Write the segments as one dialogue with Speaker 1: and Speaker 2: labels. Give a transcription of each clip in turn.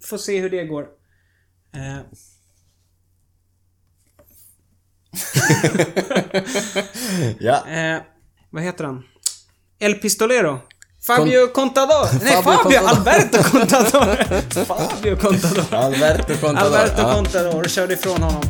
Speaker 1: får se hur det går. Eh,
Speaker 2: ja.
Speaker 1: eh, vad heter han? El Pistolero. Fabio Contador. Nej, Fabio,
Speaker 2: Fabio Contador.
Speaker 1: Alberto Contador. Fabio Contador.
Speaker 2: Alberto Contador.
Speaker 1: Alberto
Speaker 2: ja.
Speaker 1: Contador körde ifrån honom.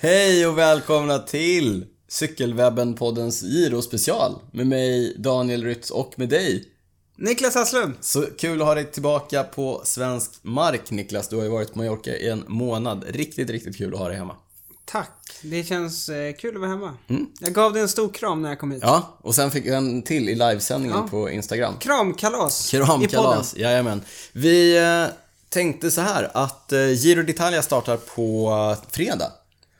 Speaker 2: Hej och välkomna till Cykelwebben-poddens Giro-special med mig Daniel Rytz och med dig.
Speaker 1: Niklas Hasslund.
Speaker 2: Så kul att ha dig tillbaka på svensk mark Niklas. Du har ju varit på Mallorca i en månad. Riktigt, riktigt kul att ha dig hemma.
Speaker 1: Tack. Det känns eh, kul att vara hemma. Jag gav dig en stor kram när jag kom hit.
Speaker 2: Mm. Ja, och sen fick jag en till i livesändningen
Speaker 1: Ja.
Speaker 2: på Instagram.
Speaker 1: Kramkalas. i podden.
Speaker 2: Kramkalas, jajamän. Vi eh, tänkte så här att eh, Giro d'Italia startar på eh, fredag.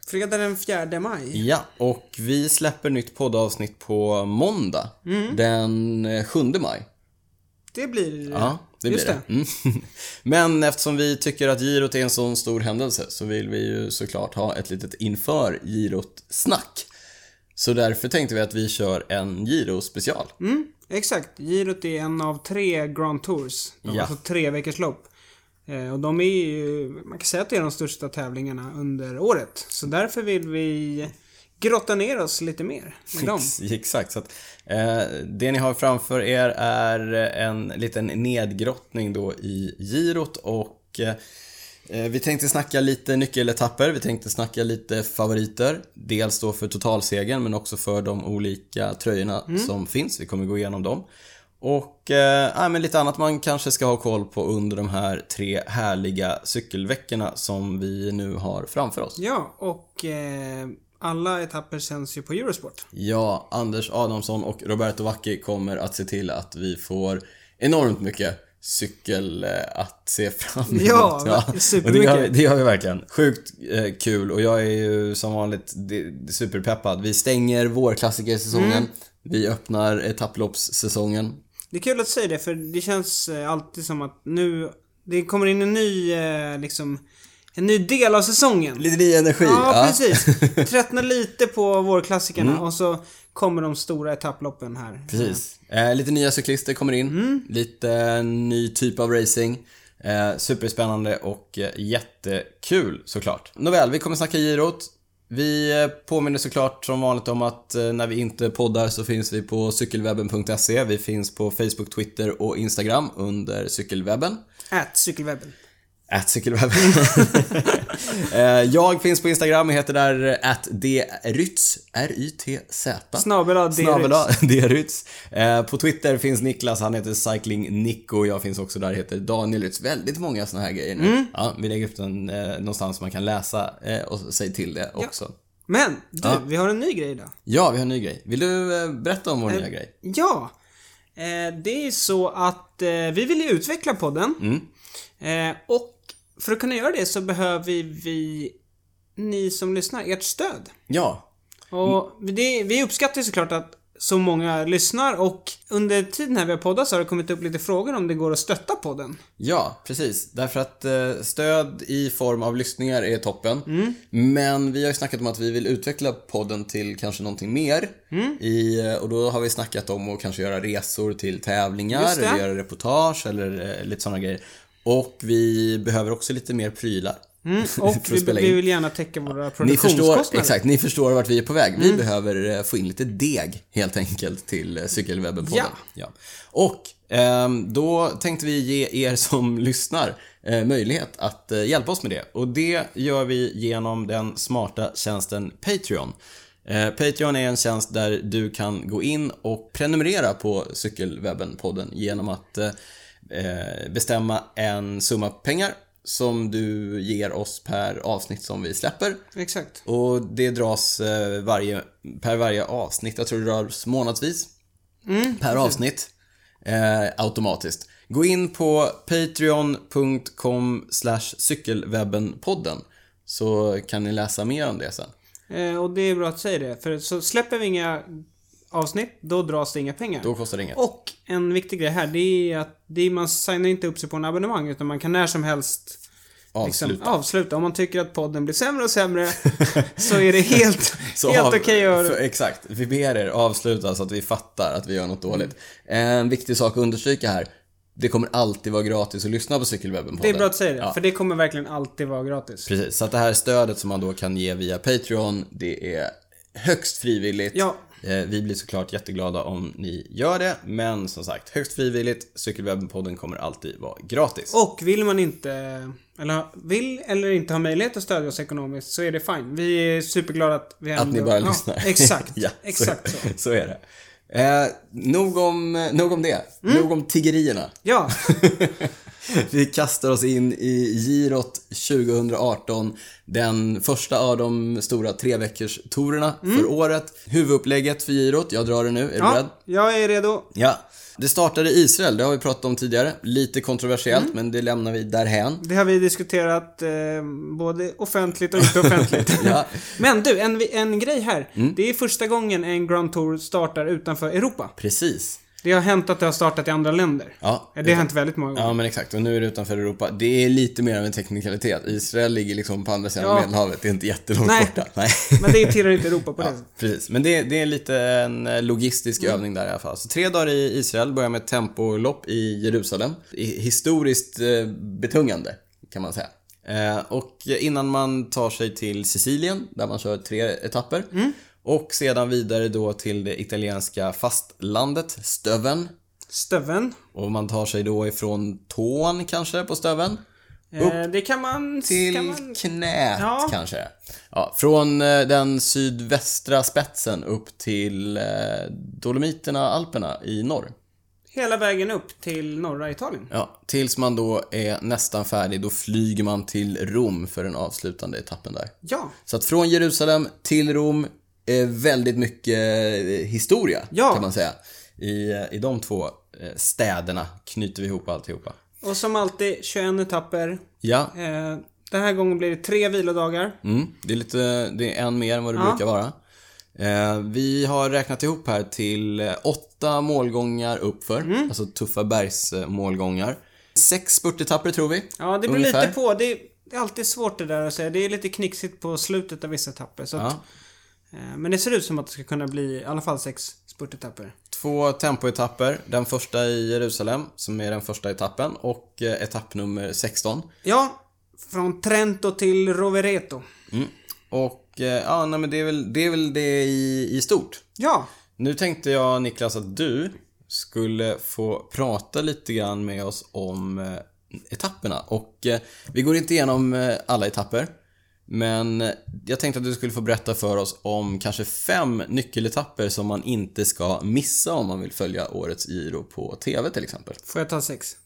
Speaker 1: Fredag den 4 maj.
Speaker 2: Ja, och vi släpper nytt poddavsnitt på måndag den eh, 7 maj.
Speaker 1: Det blir...
Speaker 2: Ja, det blir
Speaker 1: Just
Speaker 2: det. Mm. Men eftersom vi tycker att girot är en sån stor händelse så vill vi ju såklart ha ett litet inför girot-snack. Så därför tänkte vi att vi kör en giro-special.
Speaker 1: Mm, exakt. Girot är en av tre Grand Tours. De
Speaker 2: Ja.
Speaker 1: ja. Alltså tre veckors lopp. Eh, och de är ju, man kan säga att det är de största tävlingarna under året. Så därför vill vi grotta ner oss lite mer i dem.
Speaker 2: Ex- Exakt. Så att, eh, det ni har framför er är en liten nedgrottning då i girot och eh, vi tänkte snacka lite nyckeletapper, vi tänkte snacka lite favoriter. Dels då för totalsegern men också för de olika tröjorna som finns. Vi kommer gå igenom dem. Och eh, ja, men lite annat man kanske ska ha koll på under de här tre härliga cykelveckorna som vi nu har framför oss.
Speaker 1: Ja, och eh, alla etapper sänds ju på Eurosport.
Speaker 2: Ja, Anders Adamsson och Roberto Vacchi kommer att se till att vi får enormt mycket cykel eh, att se fram emot.
Speaker 1: Ja,
Speaker 2: och det, gör, vi-
Speaker 1: supermycket.
Speaker 2: det gör vi verkligen. Sjukt eh, kul och jag är ju som vanligt de- superpeppad. Vi stänger vårklassikersäsongen.
Speaker 1: Mm.
Speaker 2: Vi öppnar etapploppssäsongen.
Speaker 1: Det är kul att säga det för det känns eh, alltid som att nu, det kommer in en ny, eh, liksom, en ny del av säsongen.
Speaker 2: Lite ny energi.
Speaker 1: Ja, precis. Tröttna lite på vårklassikerna och så kommer de stora etapploppen här.
Speaker 2: Mm. Precis. Eh, lite nya cyklister kommer in. Lite ny typ av racing. Eh, superspännande och eh, jättekul såklart. Nåväl, vi kommer snacka girot. Vi eh, påminner såklart som vanligt om att eh, när vi inte poddar så finns vi på cykelwebben.se. Vi finns på Facebook, Twitter och Instagram under cykelwebben.
Speaker 1: Ät cykelwebben.
Speaker 2: At cykelwebben. Eh, jag finns på Instagram och heter där eh, at drytz. R-Y-T-Z.
Speaker 1: Snabel A, D.
Speaker 2: Snabel-A, Derytz. Eh, på Twitter finns Niklas, han heter Cycling Nico. Jag finns också där, heter Daniel Rytz. Väldigt många såna här grejer nu. Ja, vi lägger upp den eh, någonstans man kan läsa eh, och säg till det också.
Speaker 1: Men du, vi har en ny grej idag.
Speaker 2: Ja, vi har en ny grej. Vill du eh, berätta om vår nya grej?
Speaker 1: Ja. Eh, det är så att eh, vi vill ju utveckla podden.
Speaker 2: Mm.
Speaker 1: Eh, och för att kunna göra det så behöver vi ni som lyssnar, ert stöd.
Speaker 2: Ja.
Speaker 1: Och
Speaker 2: Mm.
Speaker 1: det, vi uppskattar ju såklart att så många lyssnar och under tiden här vi har poddat så har det kommit upp lite frågor om det går att stötta podden.
Speaker 2: Ja, precis. Därför att eh, stöd i form av lyssningar är toppen. Men vi har ju snackat om att vi vill utveckla podden till kanske någonting mer. I, eh, och då har vi snackat om att kanske göra resor till tävlingar,
Speaker 1: Just det.
Speaker 2: eller göra reportage eller eh, lite sådana grejer. Och vi behöver också lite mer prylar.
Speaker 1: Och
Speaker 2: för att
Speaker 1: vi,
Speaker 2: spela
Speaker 1: vi
Speaker 2: in.
Speaker 1: vill gärna täcka våra
Speaker 2: Ni förstår,
Speaker 1: produktionskostnader. Mm.
Speaker 2: exakt, ni förstår vart vi är på väg. Vi behöver eh, få in lite deg helt enkelt till eh, Cykelwebben-podden.
Speaker 1: Ja.
Speaker 2: Ja. Och ehm, då tänkte vi ge er som lyssnar eh, möjlighet att eh, hjälpa oss med det. Och det gör vi genom den smarta tjänsten Patreon. Eh, Patreon är en tjänst där du kan gå in och prenumerera på Cykelwebben-podden genom att eh, eh, bestämma en summa pengar som du ger oss per avsnitt som vi släpper.
Speaker 1: Exakt.
Speaker 2: Och det dras eh, varje, per varje
Speaker 1: Mm,
Speaker 2: avsnitt. Jag tror det dras månadsvis. per avsnitt. Eh, automatiskt. Gå in på patreon.com cykelwebbenpodden så kan ni läsa mer om det sen.
Speaker 1: Eh, och det är bra att säga det, för så släpper vi inga avsnitt, då dras det inga pengar.
Speaker 2: Då kostar det inget.
Speaker 1: Och en viktig grej här, det är att det är, man signar inte upp sig på en abonnemang, utan man kan när som helst liksom,
Speaker 2: Avsluta.
Speaker 1: avsluta. Om man tycker att podden blir sämre och sämre, så är det helt,
Speaker 2: Så
Speaker 1: helt
Speaker 2: av-
Speaker 1: okej att...
Speaker 2: för- Exakt. Vi ber er avsluta så att vi fattar att vi gör något dåligt.
Speaker 1: Mm.
Speaker 2: En viktig sak att understryka här. Det kommer alltid vara gratis att lyssna på Cykelwebben.
Speaker 1: Det är bra att säga det, för det kommer verkligen alltid vara gratis.
Speaker 2: Precis, så att det här stödet som man då kan ge via Patreon, det är högst frivilligt.
Speaker 1: Ja.
Speaker 2: Eh, Vi blir såklart jätteglada om ni gör det, men som sagt, högst frivilligt. Cykelwebben-podden kommer alltid vara gratis.
Speaker 1: Och vill man inte, eller vill eller inte ha möjlighet att stödja oss ekonomiskt så är det fine. Vi är superglada att vi
Speaker 2: Att ni
Speaker 1: ändå-
Speaker 2: bara
Speaker 1: ja,
Speaker 2: lyssnar.
Speaker 1: Exakt,
Speaker 2: ja,
Speaker 1: exakt så.
Speaker 2: så. Så är det. Eh, nog, om, nog om det.
Speaker 1: Mm.
Speaker 2: Nog om tiggerierna.
Speaker 1: Ja,
Speaker 2: Vi kastar oss in i girot 2018. Den första av de stora treveckorstourerna för året. Huvudupplägget för girot, jag drar det nu. Är du beredd?
Speaker 1: Mm. ja, jag är redo.
Speaker 2: Ja. Det startade i Israel, det har vi pratat om tidigare. Lite kontroversiellt,
Speaker 1: Mm.
Speaker 2: men det lämnar vi därhän.
Speaker 1: Det har vi diskuterat eh, både offentligt och inte offentligt.
Speaker 2: Ja.
Speaker 1: Men du, en, en grej här.
Speaker 2: Mm.
Speaker 1: Det är första gången en Grand Tour startar utanför Europa.
Speaker 2: Precis.
Speaker 1: Det har hänt att det har startat i andra länder.
Speaker 2: Ja.
Speaker 1: Det har hänt väldigt många gånger.
Speaker 2: Ja, men exakt. Och nu är det utanför Europa. Det är lite mer av en teknikalitet. Israel ligger liksom på andra sidan
Speaker 1: Ja.
Speaker 2: Medelhavet. Det är inte jättelångt
Speaker 1: Nej.
Speaker 2: borta. Nej.
Speaker 1: Men det tillhör inte Europa på det
Speaker 2: Ja,
Speaker 1: sättet.
Speaker 2: precis. Men det, det är lite en eh, logistisk övning där i alla fall. Så tre dagar i Israel, börjar med ett tempolopp i Jerusalem. I- Historiskt eh, betungande, kan man säga. Eh, och innan man tar sig till Sicilien, där man kör tre etapper. Och sedan vidare då till det italienska fastlandet, Stöven.
Speaker 1: Stöven.
Speaker 2: Och man tar sig då ifrån tån kanske på stöven.
Speaker 1: Eh, det kan man...
Speaker 2: Till
Speaker 1: Kan man
Speaker 2: knät
Speaker 1: Ja.
Speaker 2: kanske. Ja, från eh, den sydvästra spetsen upp till eh, Dolomiterna, Alperna i norr.
Speaker 1: hela vägen upp till norra Italien.
Speaker 2: Ja, tills man då är nästan färdig, då flyger man till Rom för den avslutande etappen där.
Speaker 1: Ja.
Speaker 2: Så att från Jerusalem till Rom är väldigt mycket eh, historia
Speaker 1: Ja.
Speaker 2: kan man säga. I, eh, I de två eh, städerna knyter vi ihop alltihopa.
Speaker 1: Och som alltid, 21 etapper.
Speaker 2: Ja,
Speaker 1: Eh, den här gången blir det tre vilodagar.
Speaker 2: Mm, det, är lite, det är en mer än vad det brukar vara. Eh, vi har räknat ihop här till eh, åtta målgångar uppför, alltså tuffa bergsmålgångar. Sex spurtetapper tror vi.
Speaker 1: Ja, det beror
Speaker 2: ungefär.
Speaker 1: lite på. Det är, det är alltid svårt det där att säga. Det är lite knixigt på slutet av vissa etapper. Så att, eh, men det ser ut som att det ska kunna bli i alla fall sex spurtetapper.
Speaker 2: Två tempoetapper, den första i Jerusalem, som är den första etappen, och eh, etapp nummer 16.
Speaker 1: Ja, från Trento till Rovereto.
Speaker 2: Mm. Och eh, ja, nej, men det, är väl, det är väl det i, i stort.
Speaker 1: Ja,
Speaker 2: Nu tänkte jag Niklas att du skulle få prata lite grann med oss om eh, etapperna. Och eh, vi går inte igenom eh, alla etapper. Men eh, jag tänkte att du skulle få berätta för oss om kanske fem nyckeletapper som man inte ska missa om man vill följa årets Giro på TV till exempel.
Speaker 1: får jag ta sex?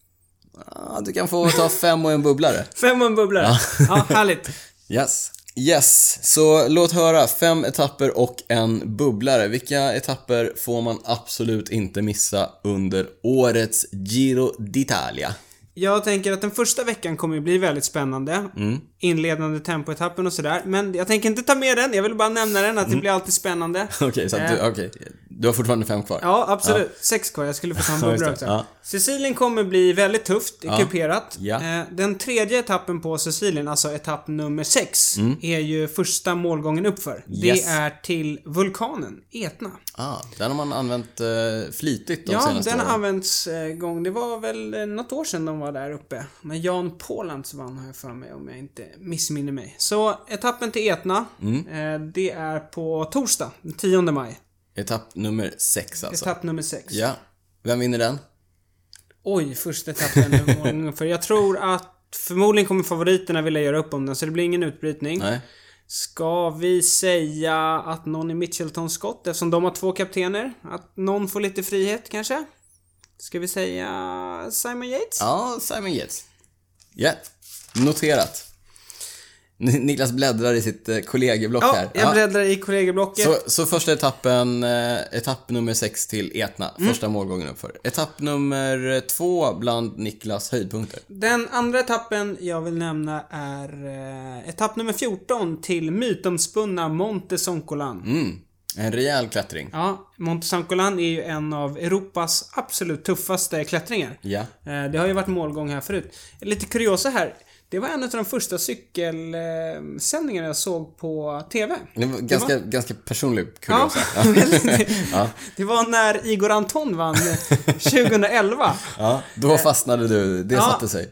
Speaker 2: Ah, du kan få ta fem och en bubblare.
Speaker 1: Fem och en bubblare. Ja. härligt.
Speaker 2: Yes. Yes, så låt höra. Fem etapper och en bubblare. Vilka etapper får man absolut inte missa under årets Giro d'Italia?
Speaker 1: Jag tänker att den första veckan kommer ju bli väldigt spännande. Inledande tempoetappen och sådär. Men jag tänker inte ta med den. Jag vill bara nämna den, att det blir alltid spännande.
Speaker 2: Okej, så att du, okej. du har fortfarande fem kvar?
Speaker 1: Eh. Ja, absolut. Sex kvar. Jag skulle få ta en
Speaker 2: Ja, just
Speaker 1: bubbla
Speaker 2: det.
Speaker 1: också.
Speaker 2: Ja.
Speaker 1: Sicilien kommer bli väldigt tufft, kuperat.
Speaker 2: Ja.
Speaker 1: Eh, Den tredje etappen på Sicilien, alltså etapp nummer sex, är ju första målgången uppför.
Speaker 2: Mm. Yes.
Speaker 1: Det är till vulkanen Etna.
Speaker 2: Ah, den har man använt eh, flitigt de
Speaker 1: ja,
Speaker 2: senaste
Speaker 1: den
Speaker 2: åren.
Speaker 1: har använts eh, gång. Det var väl eh, något år sedan de var där uppe. När Jan Polans vann har jag för mig, om jag inte missminner mig. Så etappen till Etna,
Speaker 2: Mm.
Speaker 1: eh, det är på torsdag, den 10 maj.
Speaker 2: Etapp nummer sex alltså.
Speaker 1: Etapp nummer sex.
Speaker 2: Ja. Vem vinner den?
Speaker 1: Oj, första etappen. målgången för jag tror att förmodligen kommer favoriterna vilja göra upp om den, så det blir ingen utbrytning.
Speaker 2: Nej.
Speaker 1: Ska vi säga att någon i Mitchelton Scott, eftersom de har två kaptener, att någon får lite frihet kanske? Ska vi säga Simon Yates?
Speaker 2: Ja, Simon Yates. Ja, noterat. Niklas bläddrar i sitt eh, kollegieblock
Speaker 1: Ja,
Speaker 2: här.
Speaker 1: jag bläddrar i kollegieblocket.
Speaker 2: Så, så första etappen, eh, etapp nummer sex till Etna,
Speaker 1: Mm.
Speaker 2: första målgången uppför. Etapp nummer eh, två bland Niklas höjdpunkter.
Speaker 1: Den andra etappen jag vill nämna är eh, etapp nummer 14 till mytomspunna Monte Soncolan.
Speaker 2: Mm. En rejäl klättring.
Speaker 1: Ja, Monte Soncolan är ju en av Europas absolut tuffaste klättringar.
Speaker 2: Ja.
Speaker 1: Eh, Det har ju varit målgång här förut. Lite kuriosa här. Det var en av de första cykelsändningarna jag såg på TV.
Speaker 2: Det var ganska, ganska personlig
Speaker 1: Ja,
Speaker 2: kuriosa.
Speaker 1: väldigt.
Speaker 2: Ja.
Speaker 1: Det var när Igor Anton vann 2011.
Speaker 2: Ja, då fastnade du. Det
Speaker 1: Ja.
Speaker 2: satte sig.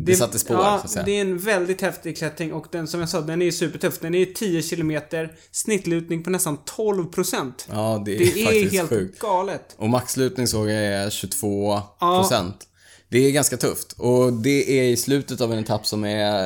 Speaker 2: Det, satte spår,
Speaker 1: ja,
Speaker 2: så att säga.
Speaker 1: det är en väldigt häftig klättring och den som jag sa, den är ju supertuff. Den är 10 km, snittlutning på nästan 12%.
Speaker 2: Ja, det är,
Speaker 1: det är
Speaker 2: faktiskt
Speaker 1: helt
Speaker 2: sjukt.
Speaker 1: galet.
Speaker 2: Och maxlutning såg jag är 22 procent. Det är ganska tufft. Och det är i slutet av en etapp som är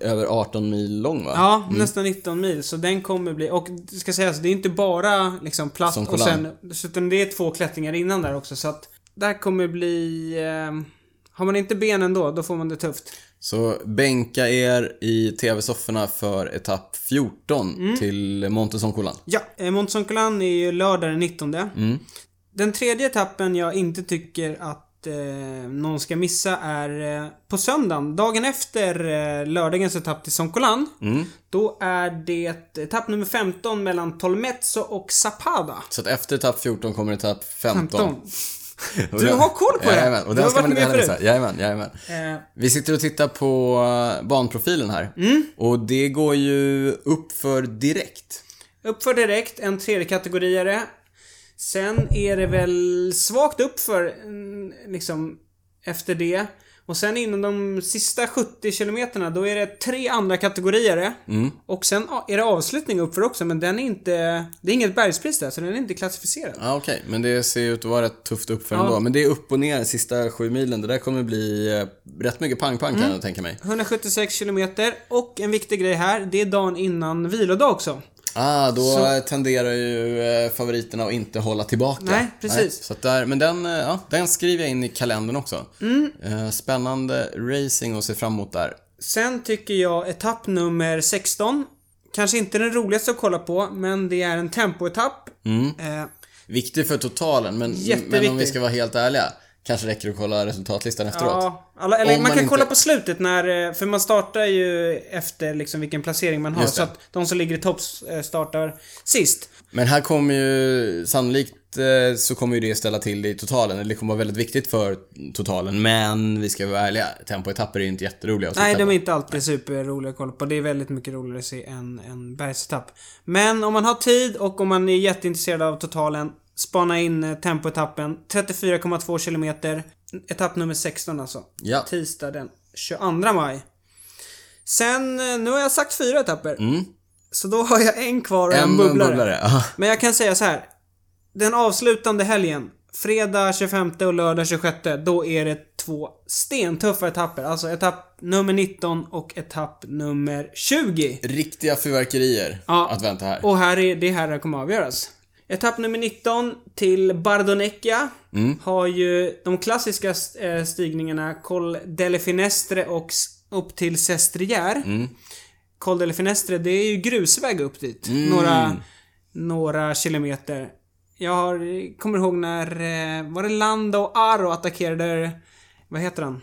Speaker 2: eh, över 18 mil lång va?
Speaker 1: Ja, nästan 19 mil. Så den kommer bli... Och det ska sägas, det är inte bara liksom platt
Speaker 2: Som
Speaker 1: och sen...
Speaker 2: kolan.
Speaker 1: Utan det är två klättringar innan där också, så att... Där kommer bli... Eh, har man inte benen då, då får man det tufft.
Speaker 2: Så bänka er i TV-sofforna för etapp 14
Speaker 1: Mm.
Speaker 2: till Montesonkolan.
Speaker 1: Ja, eh, Montesoncolan är ju lördag den 19. Den tredje etappen jag inte tycker att eh, någon ska missa är eh, på söndagen. Dagen efter eh, lördagens etapp till Soncolan. Då är det etapp nummer 15 mellan Tolmezzo och Zapada.
Speaker 2: Så att efter etapp 14 kommer etapp 15.
Speaker 1: 15.
Speaker 2: Och
Speaker 1: Du
Speaker 2: den-
Speaker 1: har koll på det.
Speaker 2: Jajamän, och
Speaker 1: Du
Speaker 2: den
Speaker 1: har
Speaker 2: ska
Speaker 1: varit
Speaker 2: man inte
Speaker 1: med
Speaker 2: heller
Speaker 1: förut.
Speaker 2: missa. Jajamän, jajamän.
Speaker 1: Eh,
Speaker 2: Vi sitter och tittar på eh, banprofilen här.
Speaker 1: Mm.
Speaker 2: Och det går ju upp för direkt.
Speaker 1: Uppför direkt, en tredje kategoriare. Sen är det väl svagt uppför, mm, liksom, efter det. Och sen inom de sista 70 kilometerna, då är det tre andra kategorier. Och sen a- är det avslutning uppför också, men den är inte... Det är inget bergspris där, så den är inte klassificerad.
Speaker 2: Ja, okej. Men det ser ju ut att vara rätt tufft uppför ändå. Men det är upp och ner sista sju milen. Det där kommer bli eh, rätt mycket pang-pang
Speaker 1: Mm.
Speaker 2: kan jag tänka mig.
Speaker 1: 176 kilometer och en viktig grej här, det är dagen innan vilodag också.
Speaker 2: Ah, då eh, tenderar ju eh, favoriterna att inte hålla tillbaka.
Speaker 1: Nej, precis.
Speaker 2: så att där, men den, eh, ja, den skriver jag in i kalendern också.
Speaker 1: Mm.
Speaker 2: Eh, Spännande racing att se fram emot där.
Speaker 1: Sen tycker jag etapp nummer 16. Kanske inte den roligaste att kolla på, men det är en tempoetapp.
Speaker 2: Mm.
Speaker 1: Eh,
Speaker 2: Viktig för totalen, men, men om vi
Speaker 1: Jätteviktig.
Speaker 2: ska vara helt ärliga. Kanske räcker det att kolla resultatlistan efteråt.
Speaker 1: ja, alla, eller
Speaker 2: Om
Speaker 1: man
Speaker 2: man
Speaker 1: kan
Speaker 2: inte-
Speaker 1: kolla på slutet när... eh, För man startar ju efter liksom vilken placering man har.
Speaker 2: Just det.
Speaker 1: Så att de som ligger i topp eh, startar sist.
Speaker 2: Men här kommer ju sannolikt eh, så kommer ju det ställa till det i totalen. Eller det kommer vara väldigt viktigt för totalen. Men vi ska vara ärliga. Tempoetapper är ju inte jätteroliga att
Speaker 1: Nej,
Speaker 2: titta
Speaker 1: de
Speaker 2: på.
Speaker 1: är inte alltid superroliga att kolla på. Det är väldigt mycket roligare att se än en bergsetapp. Men om man har tid och om man är jätteintresserad av totalen, spana in eh, tempoetappen. 34,2 kilometer. Etapp nummer 16 alltså.
Speaker 2: Ja.
Speaker 1: Tisdag den 22 maj. Sen, eh, nu har jag sagt fyra etapper. Så då har jag en kvar och en,
Speaker 2: Mm. En
Speaker 1: bubblare.
Speaker 2: bubblare. ja.
Speaker 1: Men jag kan säga så här. Den avslutande helgen, fredag 25 och lördag 26, då är det två stentuffa etapper. Alltså etapp nummer 19 och etapp nummer 20.
Speaker 2: Riktiga fyrverkerier
Speaker 1: Ja.
Speaker 2: att vänta här.
Speaker 1: Och här är, det är här det kommer avgöras. Etapp nummer 19 till Bardonecchia
Speaker 2: Mm.
Speaker 1: har ju de klassiska eh, stigningarna Col delle Finestre och s- upp till Sestriere.
Speaker 2: Mm.
Speaker 1: Col delle Finestre, det är ju grusväg upp dit.
Speaker 2: Mm.
Speaker 1: Några, några kilometer. Jag har, kommer ihåg när, eh, var det Landa och Aro attackerade, vad heter han?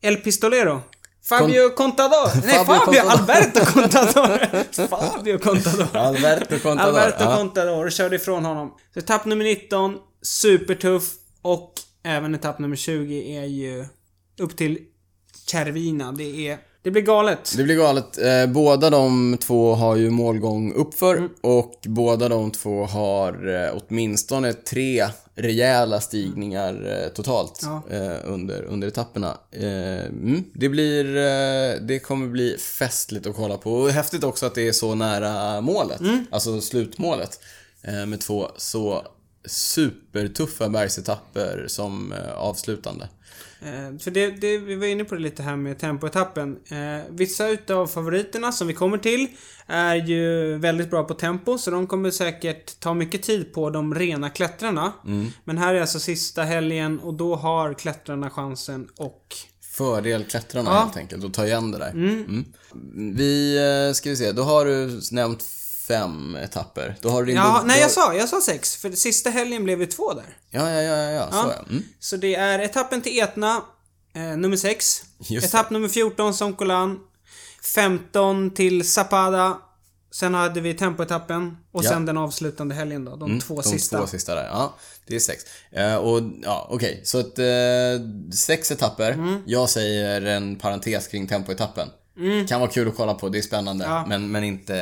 Speaker 1: El Pistolero. Fabio Contador. Nej,
Speaker 2: Fabio
Speaker 1: Fabio,
Speaker 2: Contador.
Speaker 1: Alberto Contador. Fabio Contador.
Speaker 2: Alberto Contador.
Speaker 1: Alberto
Speaker 2: ja.
Speaker 1: Contador körde ifrån honom. Så etapp nummer 19, supertuff. Och även etapp nummer 20 är ju upp till Cervina. Det är... Det blir galet.
Speaker 2: Det blir galet. Eh, Båda de två har ju målgång uppför
Speaker 1: Mm.
Speaker 2: och båda de två har eh, åtminstone tre rejäla stigningar eh, totalt
Speaker 1: Ja.
Speaker 2: eh, under, under etapperna. Eh, Mm, det, blir, eh, det kommer bli festligt att kolla på och häftigt också att det är så nära målet,
Speaker 1: Mm.
Speaker 2: alltså slutmålet eh, med två så supertuffa bergsetapper som eh, avslutande.
Speaker 1: Eh, För det, det, vi var inne på det lite här med tempoetappen. Eh, vissa utav favoriterna som vi kommer till är ju väldigt bra på tempo så de kommer säkert ta mycket tid på de rena klättrarna. Men här är alltså sista helgen och då har klättrarna chansen och
Speaker 2: Fördel klättrarna helt enkelt och ta igen det där. Mm. Vi, eh, ska vi se, då har du nämnt fem etapper. Då har du din
Speaker 1: Ja,
Speaker 2: bub-
Speaker 1: nej
Speaker 2: då-
Speaker 1: jag sa, jag sa sex. För sista helgen blev det två där.
Speaker 2: Ja, ja, ja, ja, ja, så ja. Mm.
Speaker 1: Så det är etappen till Etna, eh, nummer 6.
Speaker 2: Just
Speaker 1: Etapp nummer 14, Sonkolan. 15 till Zapada. Sen hade vi tempoetappen och
Speaker 2: Ja. Mm,
Speaker 1: sen den avslutande helgen då. De två
Speaker 2: de
Speaker 1: sista.
Speaker 2: två sista där. Ja, det är sex. Eh, och ja, okej. Så att eh, sex etapper.
Speaker 1: Mm.
Speaker 2: Jag säger en parentes kring tempoetappen.
Speaker 1: Mm.
Speaker 2: Kan vara kul att kolla på, det är spännande. Men, men inte,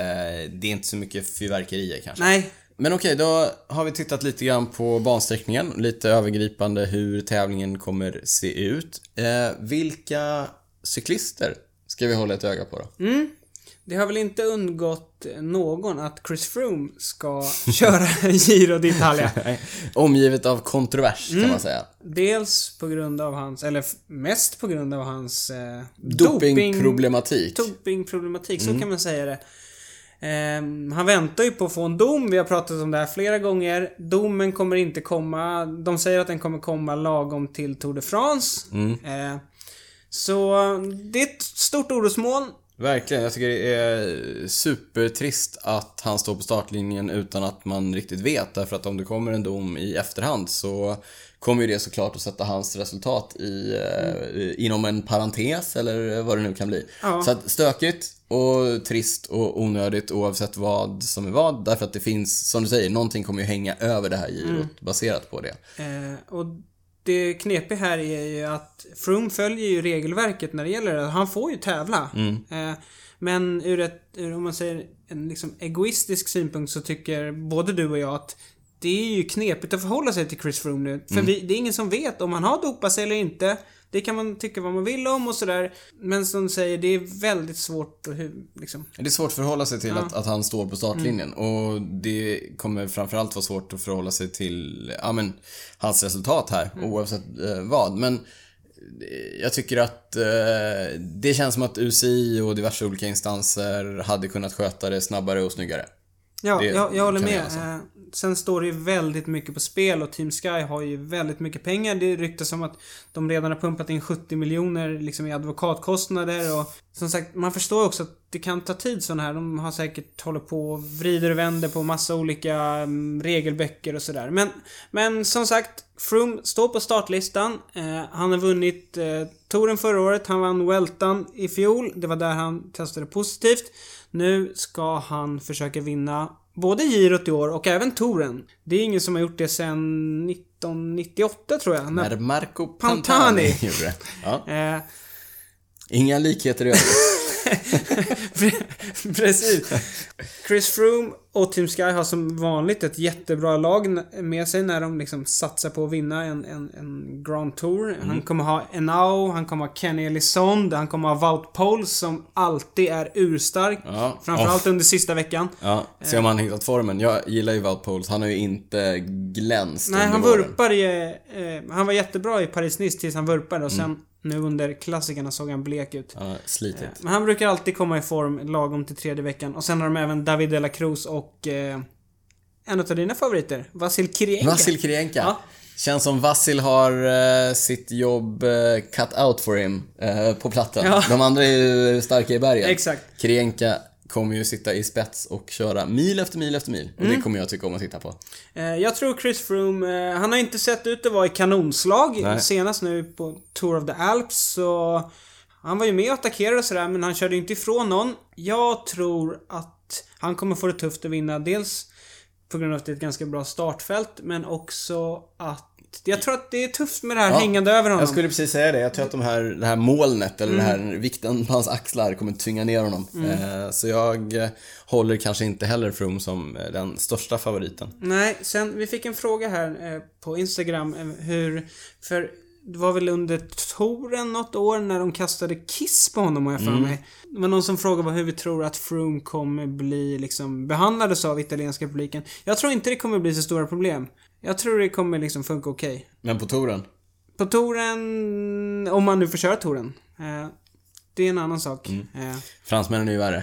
Speaker 2: det är inte så mycket fyrverkerier kanske.
Speaker 1: Nej.
Speaker 2: Men okej, då har vi tittat lite grann på bansträckningen. Lite övergripande hur tävlingen kommer se ut. Eh, vilka cyklister ska vi hålla ett öga på då?
Speaker 1: Det har väl inte undgått någon att Chris Froome ska köra en Giro d'Italia.
Speaker 2: Omgivet av kontrovers kan man säga.
Speaker 1: Dels på grund av hans, eller f- mest på grund av hans eh, doping-
Speaker 2: Dopingproblematik.
Speaker 1: dopingproblematik, så kan man säga det. Ehm, han väntar ju på att få en dom, vi har pratat om det här flera gånger. Domen kommer inte komma, de säger att den kommer komma lagom till Tour de France. Ehm, så det är ett stort orosmoln.
Speaker 2: Verkligen. Jag tycker det är supertrist att han står på startlinjen utan att man riktigt vet. Därför att om det kommer en dom i efterhand så kommer ju det såklart att sätta hans resultat i, eh, inom en parentes eller vad det nu kan bli. Så att stökigt och trist och onödigt oavsett vad som är vad. Därför att det finns, som du säger, någonting kommer ju hänga över det här girot baserat på det.
Speaker 1: Ehm, och det knepiga här är ju att Froome följer ju regelverket när det gäller det. Han får ju tävla.
Speaker 2: Mm.
Speaker 1: Ehm, men ur ett, ur, om man säger en liksom egoistisk synpunkt så tycker både du och jag att det är ju knepigt att förhålla sig till Chris Froome nu.
Speaker 2: Mm.
Speaker 1: För vi, det är ingen som vet om han har dopat sig eller inte. Det kan man tycka vad man vill om och sådär. Men som du säger, det är väldigt svårt att hu- liksom...
Speaker 2: Det är svårt att förhålla sig till att, att han står på startlinjen
Speaker 1: Mm.
Speaker 2: och det kommer framförallt vara svårt att förhålla sig till ja, men, hans resultat här
Speaker 1: Mm.
Speaker 2: oavsett eh, vad. Men eh, jag tycker att eh, det känns som att UCI och diverse olika instanser hade kunnat sköta det snabbare och snyggare.
Speaker 1: Ja,
Speaker 2: Det
Speaker 1: jag, jag håller
Speaker 2: kan jag
Speaker 1: med.
Speaker 2: alltså.
Speaker 1: Eh, sen står det ju väldigt mycket på spel och Team Sky har ju väldigt mycket pengar. Det ryktas om att de redan har pumpat in 70 miljoner liksom, i advokatkostnader och som sagt, man förstår också att det kan ta tid sådana här. De har säkert håller på och vrider och vänder på massa olika mm, regelböcker och sådär. Men, men som sagt, Froome står på startlistan. Eh, han har vunnit eh, touren förra året, han vann Weltan i fjol. Det var där han testade positivt. Nu ska han försöka vinna både girot i år och även touren. Det är ingen som har gjort det sedan 1998 tror jag. När,
Speaker 2: När Marco Pantani,
Speaker 1: Pantani.
Speaker 2: gjorde det. Ja.
Speaker 1: eh,
Speaker 2: Inga likheter i övrigt.
Speaker 1: Precis. Chris Froome och Team Sky har som vanligt ett jättebra lag n- med sig när de liksom satsar på att vinna en, en, en Grand Tour. Han kommer ha Enao, han kommer ha Kenny Elisonde, han kommer ha Wout Poels som alltid är urstark.
Speaker 2: Ja.
Speaker 1: Framförallt under sista veckan.
Speaker 2: Ja, se om han
Speaker 1: Eh.
Speaker 2: hittat formen. Jag gillar ju Wout Poels. Han har ju inte glänst
Speaker 1: Nej,
Speaker 2: under
Speaker 1: han
Speaker 2: våren.
Speaker 1: vurpar i, eh, Han var jättebra i Paris-Nice tills han vurpade och sen nu under klassikerna såg han blek ut.
Speaker 2: Ja, slitigt.
Speaker 1: Men han brukar alltid komma i form lagom till tredje veckan. Och sen har de även David de la Cruz och eh, en av dina favoriter, Vasil Kirienka.
Speaker 2: Vasil Kirienka.
Speaker 1: Ja.
Speaker 2: Känns som Vasil har eh, sitt jobb eh, cut out for him eh, på plattan.
Speaker 1: Ja.
Speaker 2: De andra är ju starka i bergen.
Speaker 1: Exakt.
Speaker 2: Kirienka kommer ju sitta i spets och köra mil efter mil efter mil. Och
Speaker 1: Mm.
Speaker 2: det kommer jag tycka om att titta på.
Speaker 1: Eh, jag tror Chris Froome, eh, han har inte sett ut att vara i kanonslag.
Speaker 2: Nej.
Speaker 1: Senast nu på Tour of the Alps så... Han var ju med och attackerade och sådär men han körde ju inte ifrån någon. Jag tror att han kommer få det tufft att vinna. Dels på grund av att det är ett ganska bra startfält men också att... Jag tror att det är tufft med det här hängande över honom.
Speaker 2: Jag skulle precis säga det. Jag tror att de här, det här molnet, eller den
Speaker 1: Mm.
Speaker 2: här vikten på hans axlar, kommer tvinga ner honom. Eh, så jag eh, håller kanske inte heller Froome som eh, den största favoriten.
Speaker 1: Nej, sen vi fick en fråga här eh, på Instagram eh, hur... För det var väl under touren något år när de kastade kiss på honom har jag för mig. Det var någon som frågade vad- hur vi tror att Froome kommer bli liksom behandlades av italienska publiken. Jag tror inte det kommer bli så stora problem. Jag tror det kommer liksom funka okej.
Speaker 2: Men på touren?
Speaker 1: På touren, om man nu får köra touren. Eh, det är en annan sak. Eh,
Speaker 2: Fransmännen är ju värre.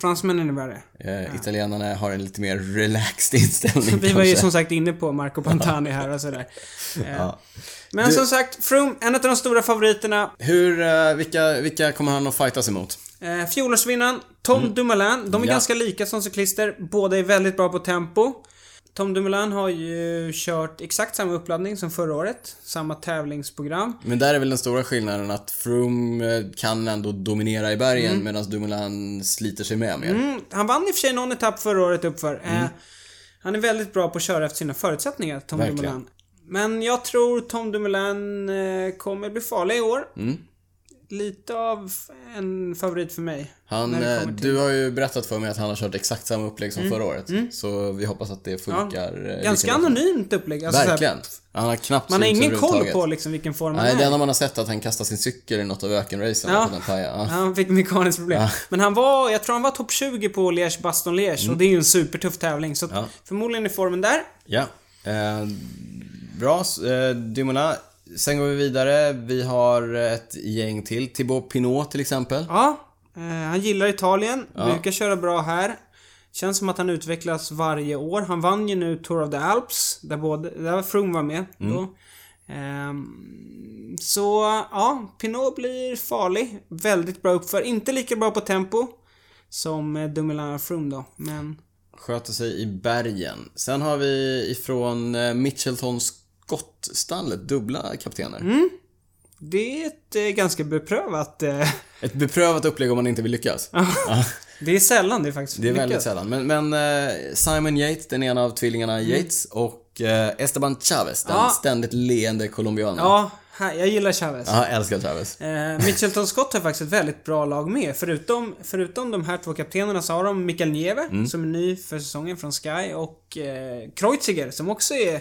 Speaker 1: Fransmännen är värre.
Speaker 2: Eh, Italienarna har en lite mer relaxed inställning
Speaker 1: Vi var ju
Speaker 2: kanske.
Speaker 1: som sagt inne på Marco Pantani här och sådär. Eh,
Speaker 2: Ja.
Speaker 1: Men som sagt, Froome, en av de stora favoriterna.
Speaker 2: Hur, eh, vilka, vilka kommer han att fightas emot?
Speaker 1: Eh, Fjolårsvinnaren Tom Dumoulin. De är
Speaker 2: Mm. Ja.
Speaker 1: ganska lika som cyklister. Båda är väldigt bra på tempo. Tom Dumoulin har ju kört exakt samma uppladdning som förra året. Samma tävlingsprogram.
Speaker 2: Men där är väl den stora skillnaden att Froome eh, kan ändå dominera i bergen medan Dumoulin sliter sig med mer.
Speaker 1: Mm, han vann i och för sig någon etapp förra året uppför. Eh,
Speaker 2: Mm.
Speaker 1: han är väldigt bra på att köra efter sina förutsättningar, Tom
Speaker 2: Verkligen.
Speaker 1: Dumoulin. Men jag tror Tom Dumoulin eh, kommer bli farlig i år.
Speaker 2: Mm.
Speaker 1: Lite av en favorit för mig.
Speaker 2: Han,
Speaker 1: när det
Speaker 2: eh,
Speaker 1: kommer till- Mm.
Speaker 2: du har ju berättat för mig att han har kört exakt samma upplägg som förra året. Så vi hoppas att det funkar. eh, lika
Speaker 1: Ganska
Speaker 2: bra.
Speaker 1: anonymt upplägg. Alltså, såhär,
Speaker 2: Verkligen. Han har knappt
Speaker 1: man har
Speaker 2: synts
Speaker 1: ingen koll
Speaker 2: överhuvudtaget.
Speaker 1: på liksom vilken form han
Speaker 2: Nej, det
Speaker 1: är i.
Speaker 2: enda man har sett är att han kastar sin cykel i något av ökenracen.
Speaker 1: Ja.
Speaker 2: och Den pajar. ja.
Speaker 1: Han fick mekaniskt problem. Men han var, jag tror han var topp 20 på Liège Baston Liège och det är ju en supertuff tävling. Så att
Speaker 2: Mm. Ja.
Speaker 1: förmodligen är formen där.
Speaker 2: Ja. Eh, bra, eh, Dumoulin. Sen går vi vidare. Vi har ett gäng till. Thibaut Pinot till exempel.
Speaker 1: Ja, eh, han gillar Italien. Brukar köra bra här. Känns som att han utvecklas varje år. Han vann ju nu Tour of the Alps, där, både, där Froome var med
Speaker 2: Mm.
Speaker 1: då. Ehm, så ja, Pinot blir farlig. Väldigt bra uppför. Inte lika bra på tempo som eh, Dumoulin och Froome då, men...
Speaker 2: Sköter sig i bergen. Sen har vi ifrån eh, Mitchelton Scott-stallet, dubbla kaptener.
Speaker 1: Mm. Det är ett eh, ganska beprövat... Eh,
Speaker 2: Ett beprövat upplägg om man inte vill lyckas. Ja.
Speaker 1: det är sällan det faktiskt
Speaker 2: Det är väldigt
Speaker 1: lyckas.
Speaker 2: sällan. Men, men eh, Simon Yates, den ena av tvillingarna Yates och eh, Esteban Chavez, den
Speaker 1: Mm. Ja.
Speaker 2: ständigt leende colombianen.
Speaker 1: Ja, här, jag gillar Chavez.
Speaker 2: Ja, jag älskar Chavez.
Speaker 1: Eh, Mitchelton Scott har faktiskt ett väldigt bra lag med. Förutom, förutom de här två kaptenerna så har de Mikael Nieve,
Speaker 2: Mm.
Speaker 1: som är ny för säsongen från Sky, och eh, Kreuziger, som också är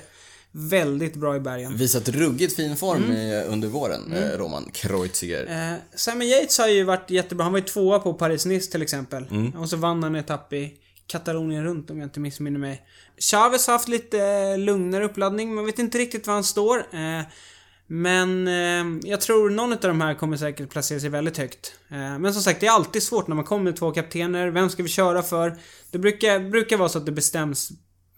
Speaker 1: väldigt bra i bergen.
Speaker 2: Visat ruggigt fin form i, under våren, eh, Roman Kreuziger.
Speaker 1: Mm. Eh, Simon Yates har ju varit jättebra. Han var ju tvåa på Paris-Nice till exempel.
Speaker 2: Mm.
Speaker 1: Och så vann han en etapp i Katalonien runt om jag inte missminner mig. Chavez har haft lite eh, lugnare uppladdning. Man vet inte riktigt var han står. Eh, men eh, jag tror någon av de här kommer säkert placera sig väldigt högt. Eh, men som sagt, det är alltid svårt när man kommer med två kaptener. Vem ska vi köra för? Det brukar, brukar vara så att det bestäms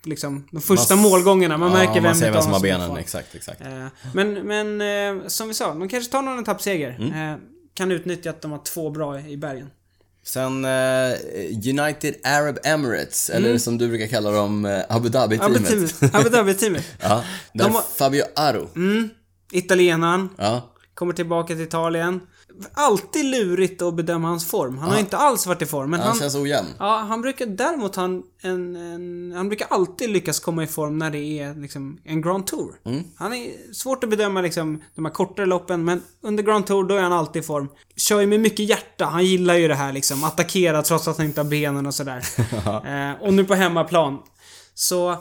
Speaker 1: liksom de första
Speaker 2: Man s-
Speaker 1: målgångarna. Man märker
Speaker 2: ja,
Speaker 1: vem
Speaker 2: man ser
Speaker 1: utav
Speaker 2: vem som
Speaker 1: dem
Speaker 2: har
Speaker 1: är
Speaker 2: benen.
Speaker 1: kvar.
Speaker 2: Exakt, exakt.
Speaker 1: Eh, Men, men eh, som vi sa, de kanske tar någon etappseger. Eh, Kan utnyttja att de har två bra i bergen.
Speaker 2: Sen eh, United Arab Emirates, eller som du brukar kalla dem, eh, Abu
Speaker 1: Mm. Abu
Speaker 2: Dhabi-teamet.
Speaker 1: Dhabi- Abu Dhabi-teamet.
Speaker 2: Ja,
Speaker 1: De
Speaker 2: där
Speaker 1: har- Mm.
Speaker 2: Fabio Aro.
Speaker 1: Italienaren.
Speaker 2: Ja.
Speaker 1: Kommer tillbaka till Italien. Alltid lurigt att bedöma hans form. Han har inte alls varit i form, men han...
Speaker 2: Han känns ojämn.
Speaker 1: Ja, han brukar däremot han, en, en, han brukar alltid lyckas komma i form när det är liksom en Grand Tour. Han är svårt att bedöma liksom de här kortare loppen men under Grand Tour då är han alltid i form. Kör ju med mycket hjärta. Han gillar ju det här liksom. Attackera trots att han inte har benen och sådär. eh, och nu på hemmaplan. Så...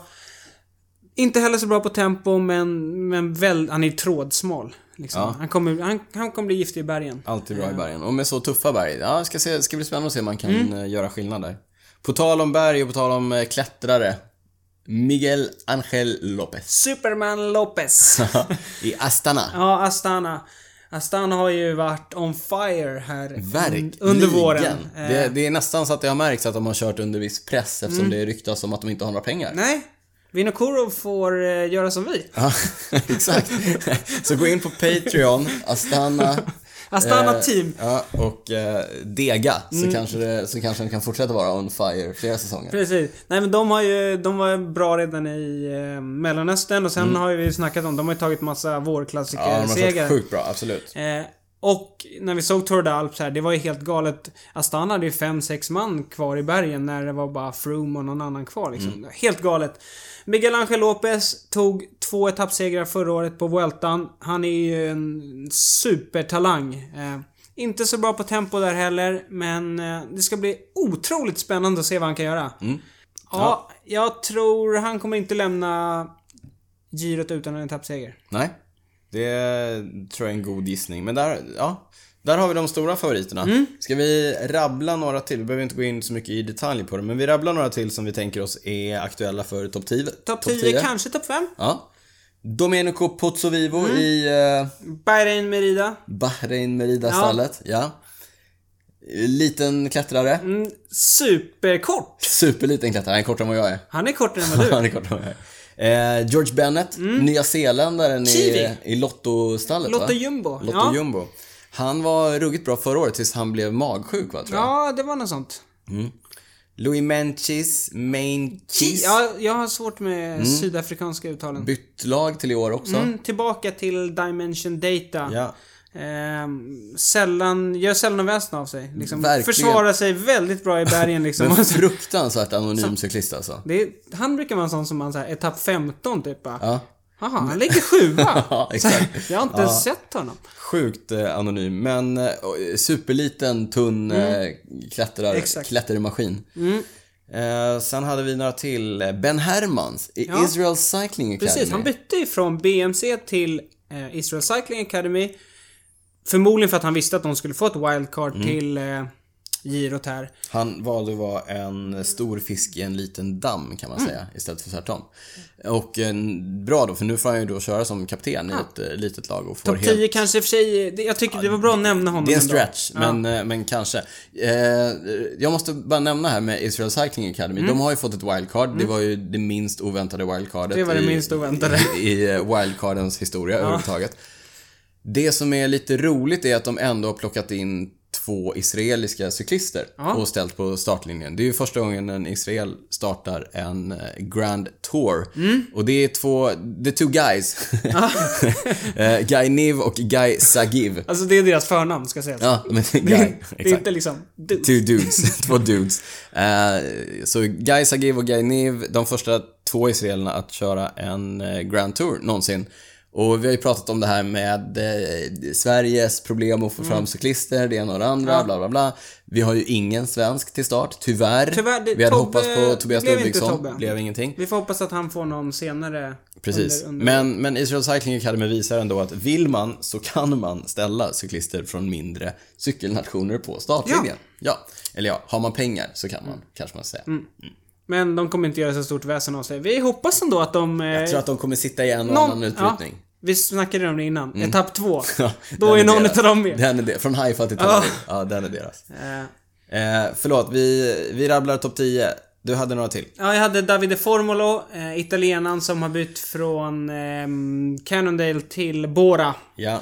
Speaker 1: Inte heller så bra på tempo men, men väl, han är trådsmal. Liksom. Han, kommer, han, han kommer bli giftig i bergen.
Speaker 2: Alltid bra i bergen. Och med så tuffa berg. Ja, ska, se, ska bli spännande att se om man kan
Speaker 1: Mm.
Speaker 2: eh, göra skillnad där. På tal om berg och på tal om eh, klättrare. Miguel Angel Lopez
Speaker 1: Superman Lopez.
Speaker 2: i Astana.
Speaker 1: Ja, Astana. Astana har ju varit on fire här
Speaker 2: Verkligen.
Speaker 1: un- under våren. Eh, Mm.
Speaker 2: Det, det är nästan så att det har märkts att de har kört under viss press eftersom det ryktas om att de inte har några pengar.
Speaker 1: Nej, Vinokurov får eh, göra som vi.
Speaker 2: Ja, exakt. Så gå in på Patreon, Astana.
Speaker 1: Astana
Speaker 2: eh,
Speaker 1: team. Mm.
Speaker 2: Ja, och eh, dega. Så, kanske det, så kanske den kan fortsätta vara on fire flera säsonger.
Speaker 1: Precis. Nej men de har ju, de var ju bra redan i eh, Mellanöstern och sen har ju vi snackat om, de har ju tagit massa
Speaker 2: Mm. Ja, de har
Speaker 1: vårklassiker-segrar.
Speaker 2: kört sjukt bra, absolut.
Speaker 1: Eh, och när vi såg Tour de Alps här, det var ju helt galet. Astana hade ju 5-6 man kvar i bergen när det var bara Froome och någon annan kvar liksom. Helt galet. Miguel Angel Lopez tog två etappsegrar förra året på Vueltan. Han är ju en supertalang. Eh, inte så bra på tempo där heller, men eh, det ska bli otroligt spännande att se vad han kan göra. Mm. Ja, jag tror han kommer inte lämna girot utan en etappseger.
Speaker 2: Nej. Det tror jag är en god gissning. Men där, ja. Där har vi de stora favoriterna.
Speaker 1: Mm.
Speaker 2: Ska vi rabbla några till? Vi behöver inte gå in så mycket i detalj på det, men vi rabblar några till som vi tänker oss är aktuella för topp 10.
Speaker 1: Topp 10, kanske topp 5.
Speaker 2: Ja. Domenico Pozzovivo
Speaker 1: Mm.
Speaker 2: i eh,
Speaker 1: Bahrain Merida.
Speaker 2: Bahrain Merida-stallet. Ja. Liten klättrare.
Speaker 1: Mm, superkort!
Speaker 2: Superliten klättrare. Han är kortare än vad jag är.
Speaker 1: Han är kortare än vad du
Speaker 2: Han
Speaker 1: är.
Speaker 2: är kortare än vad jag är. Eh, George Bennett, Nya Zeeländaren i,
Speaker 1: Mm. Kiwi.
Speaker 2: i Lottostallet
Speaker 1: Lotto
Speaker 2: va?
Speaker 1: Jumbo.
Speaker 2: Lotto
Speaker 1: ja.
Speaker 2: Jumbo. Han var ruggigt bra förra året tills han blev magsjuk va, tror jag.
Speaker 1: ja, det var något sånt.
Speaker 2: Louis Menchis, Menchis.
Speaker 1: Ja, jag har svårt med sydafrikanska uttalen.
Speaker 2: Bytt lag till i år också.
Speaker 1: Mm, tillbaka till Dimension Data.
Speaker 2: Ja.
Speaker 1: Ehm, sällan, gör sällan väsen av sig. Liksom,
Speaker 2: Verkligen.
Speaker 1: försvarar sig väldigt bra i bergen liksom.
Speaker 2: Men fruktansvärt anonym cyklist alltså.
Speaker 1: det är, han brukar vara en sån som man säger etapp 15 typ bara.
Speaker 2: Ja.
Speaker 1: Haha, han ligger sjua.
Speaker 2: Ja, exakt.
Speaker 1: jag har inte ens sett honom.
Speaker 2: Sjukt eh, anonym, men eh, superliten, tunn eh, klättrar,
Speaker 1: Mm. Exakt. Mm.
Speaker 2: klättermaskin. Eh, sen hade vi några till. Eh, Ben Hermans i Israel Cycling Academy.
Speaker 1: Precis, han bytte ju från BMC till eh, Israel Cycling Academy. Förmodligen för att han visste att de skulle få ett wildcard
Speaker 2: Mm.
Speaker 1: till eh, girot här.
Speaker 2: Han valde att vara en stor fisk i en liten damm kan man
Speaker 1: Mm.
Speaker 2: säga istället för tvärtom. Och eh, bra då, för nu får han ju då köra som kapten i ett eh, litet lag och får
Speaker 1: Topp 10 kanske i och för sig, det, jag tycker det var bra att nämna honom
Speaker 2: Det är en
Speaker 1: ändå.
Speaker 2: stretch, men, eh, men kanske. Eh, jag måste bara nämna här med Israel Cycling Academy.
Speaker 1: Mm.
Speaker 2: De har ju fått ett wildcard. Det var ju det minst oväntade wildcardet.
Speaker 1: Det var det
Speaker 2: i-
Speaker 1: minst oväntade.
Speaker 2: I, i eh, wildcardens historia överhuvudtaget. Det som är lite roligt är att de ändå har plockat in två israeliska cyklister och ställt på startlinjen. Det är ju första gången en israel startar en eh, Grand Tour.
Speaker 1: Mm.
Speaker 2: Och det är två, the two guys. Eh, Guy Niv och Guy Sagiv.
Speaker 1: Alltså det är deras förnamn ska sägas.
Speaker 2: Ja, men
Speaker 1: det,
Speaker 2: Guy.
Speaker 1: är, det är
Speaker 2: Exakt.
Speaker 1: inte liksom du.
Speaker 2: Two dudes, två dudes. Eh, så Guy Sagiv och Guy Niv, de första två israelerna att köra en eh, Grand Tour någonsin. Och vi har ju pratat om det här med eh, Sveriges problem att få
Speaker 1: Mm.
Speaker 2: fram cyklister, det ena och det andra, bla bla bla. Vi har ju ingen svensk till start, tyvärr.
Speaker 1: Tyvärr, det-
Speaker 2: vi hade
Speaker 1: Tobbe
Speaker 2: hoppats på Tobias
Speaker 1: blev inte
Speaker 2: Ludvigsson,
Speaker 1: Tobbe.
Speaker 2: blev ingenting.
Speaker 1: Vi får hoppas att han får någon senare.
Speaker 2: Precis.
Speaker 1: Under, under.
Speaker 2: Men, men Israel Cycling Academy visar ändå att vill man så kan man ställa cyklister från mindre cykelnationer på startlinjen. Ja. Eller ja, har man pengar så kan man, kanske man säger.
Speaker 1: Mm. Men de kommer inte göra så stort väsen av sig. Vi hoppas ändå att de...
Speaker 2: Jag tror att de kommer sitta i en och
Speaker 1: någon-
Speaker 2: annan utbrytning. Mm.
Speaker 1: Ja, vi snackade om det innan. Etapp två.
Speaker 2: Den
Speaker 1: Då är någon
Speaker 2: deras.
Speaker 1: utav dem med.
Speaker 2: Den är de- Från Haifa till Tel Aviv. Ja, den är deras.
Speaker 1: Eh,
Speaker 2: Eh, förlåt, vi, vi rabblar topp 10. Du hade några till.
Speaker 1: Ja, jag hade Davide Formolo, eh, italienaren som har bytt från eh, Cannondale till Bora.
Speaker 2: Ja.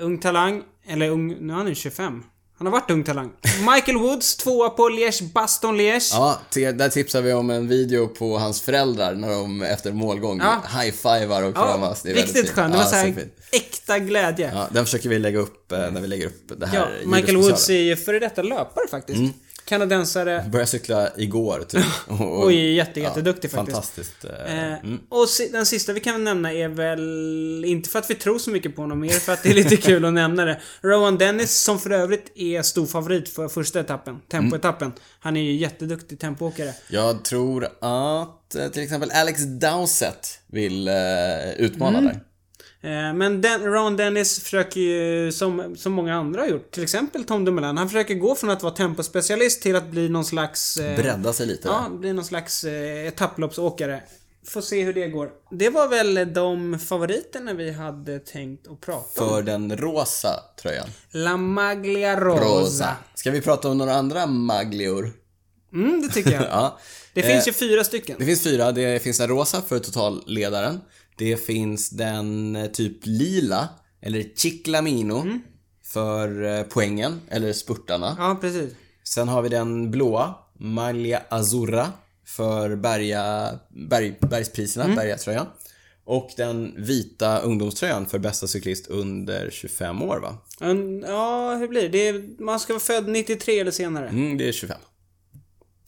Speaker 1: Ung talang, eller ung, nu är han ju 25. Han har varit ung talang. Michael Woods, tvåa på Liège, Baston Liège.
Speaker 2: Ja, te, där tipsar vi om en video på hans föräldrar när de efter målgång
Speaker 1: Ja.
Speaker 2: high-fivar och kramas. Det är väldigt
Speaker 1: riktigt
Speaker 2: fint.
Speaker 1: skön. Det var
Speaker 2: Ja,
Speaker 1: så här
Speaker 2: superfint.
Speaker 1: äkta glädje. Ja,
Speaker 2: Ja, den försöker vi lägga upp eh, när vi lägger upp det här
Speaker 1: Michael
Speaker 2: ljudspecialen.
Speaker 1: Woods är ju före detta löpare faktiskt.
Speaker 2: Mm.
Speaker 1: Kanadensare
Speaker 2: Började cykla igår typ. Och,
Speaker 1: och är jätte, jätteduktig faktiskt.
Speaker 2: Fantastiskt. eh,
Speaker 1: Eh, Och si- den sista vi kan nämna är väl, inte för att vi tror så mycket på honom, mer för att det är lite kul att nämna det. Rowan Dennis, som för övrigt är stor favorit för första etappen, tempoetappen. Han är ju jätteduktig tempoåkare.
Speaker 2: Jag tror att eh, till exempel Alex Dowsett vill eh, utmana
Speaker 1: Mm.
Speaker 2: där.
Speaker 1: Eh, Men den, Rowan Dennis försöker ju, som, som många andra har gjort, till exempel Tom Dumoulin, han försöker gå från att vara tempospecialist till att bli någon slags... eh,
Speaker 2: Bredda sig lite där.
Speaker 1: Ja, bli någon slags eh, etapploppsåkare. Får se hur det går. Det var väl de favoriterna vi hade tänkt att prata om.
Speaker 2: För den rosa tröjan.
Speaker 1: La Maglia Rosa.
Speaker 2: Ska vi prata om några andra maglior?
Speaker 1: Mm, det tycker jag.
Speaker 2: Ja. Eh,
Speaker 1: Det finns ju fyra stycken.
Speaker 2: Det finns fyra. Det finns den rosa för totalledaren. Det finns den eh, typ lila, eller chiclamino, för eh, poängen, eller spurtarna.
Speaker 1: Mm. Ja, precis.
Speaker 2: Sen har vi den blåa, Malia Azurra, för berga, berg, bergspriserna,
Speaker 1: Mm.
Speaker 2: bergatröjan. Och den vita ungdomströjan för bästa cyklist under 25 år va?
Speaker 1: En- Ja, hur blir det? det är, man ska vara född 93 eller senare.
Speaker 2: Mm, det är 25.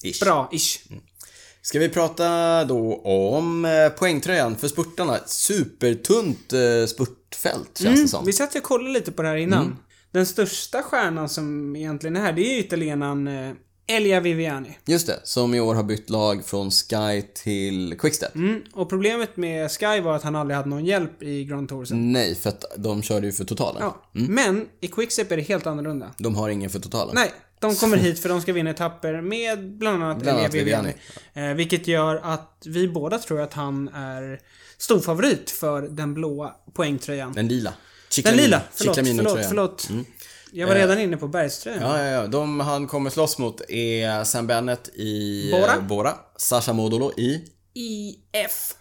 Speaker 2: Ish.
Speaker 1: Bra, ish.
Speaker 2: Ska vi prata då om eh, poängtröjan för spurtarna? Ett Supertunt eh, spurtfält känns det som.
Speaker 1: Vi satt ju och kollade lite på det här innan.
Speaker 2: Mm.
Speaker 1: Den största stjärnan som egentligen är här, det är ju italienaren eh, Elia Viviani.
Speaker 2: Just det, som i år har bytt lag från Sky till Quickstep.
Speaker 1: Mm. Och problemet med Sky var att han aldrig hade någon hjälp i Grand Tour sen.
Speaker 2: Nej, för att de körde ju för totalen.
Speaker 1: Ja. Men i Quickstep är det helt annorlunda.
Speaker 2: De har ingen för totalen.
Speaker 1: Nej, de kommer hit för de ska vinna etapper med bland annat
Speaker 2: Bland
Speaker 1: Elia
Speaker 2: annat
Speaker 1: Viviani. Eh, vilket gör att vi båda tror att han är storfavorit för den blåa poängtröjan.
Speaker 2: Den lila.
Speaker 1: Den
Speaker 2: Chiclamino-
Speaker 1: lila, förlåt,
Speaker 2: Chiclamino-tröjan.
Speaker 1: förlåt, förlåt. Jag var redan inne på Bergström.
Speaker 2: Mm. Eh, Ja, ja, ja. De han kommer slåss mot är Sam Bennett i eh,
Speaker 1: Bora.
Speaker 2: Bora Sasha Modolo i...
Speaker 1: IF.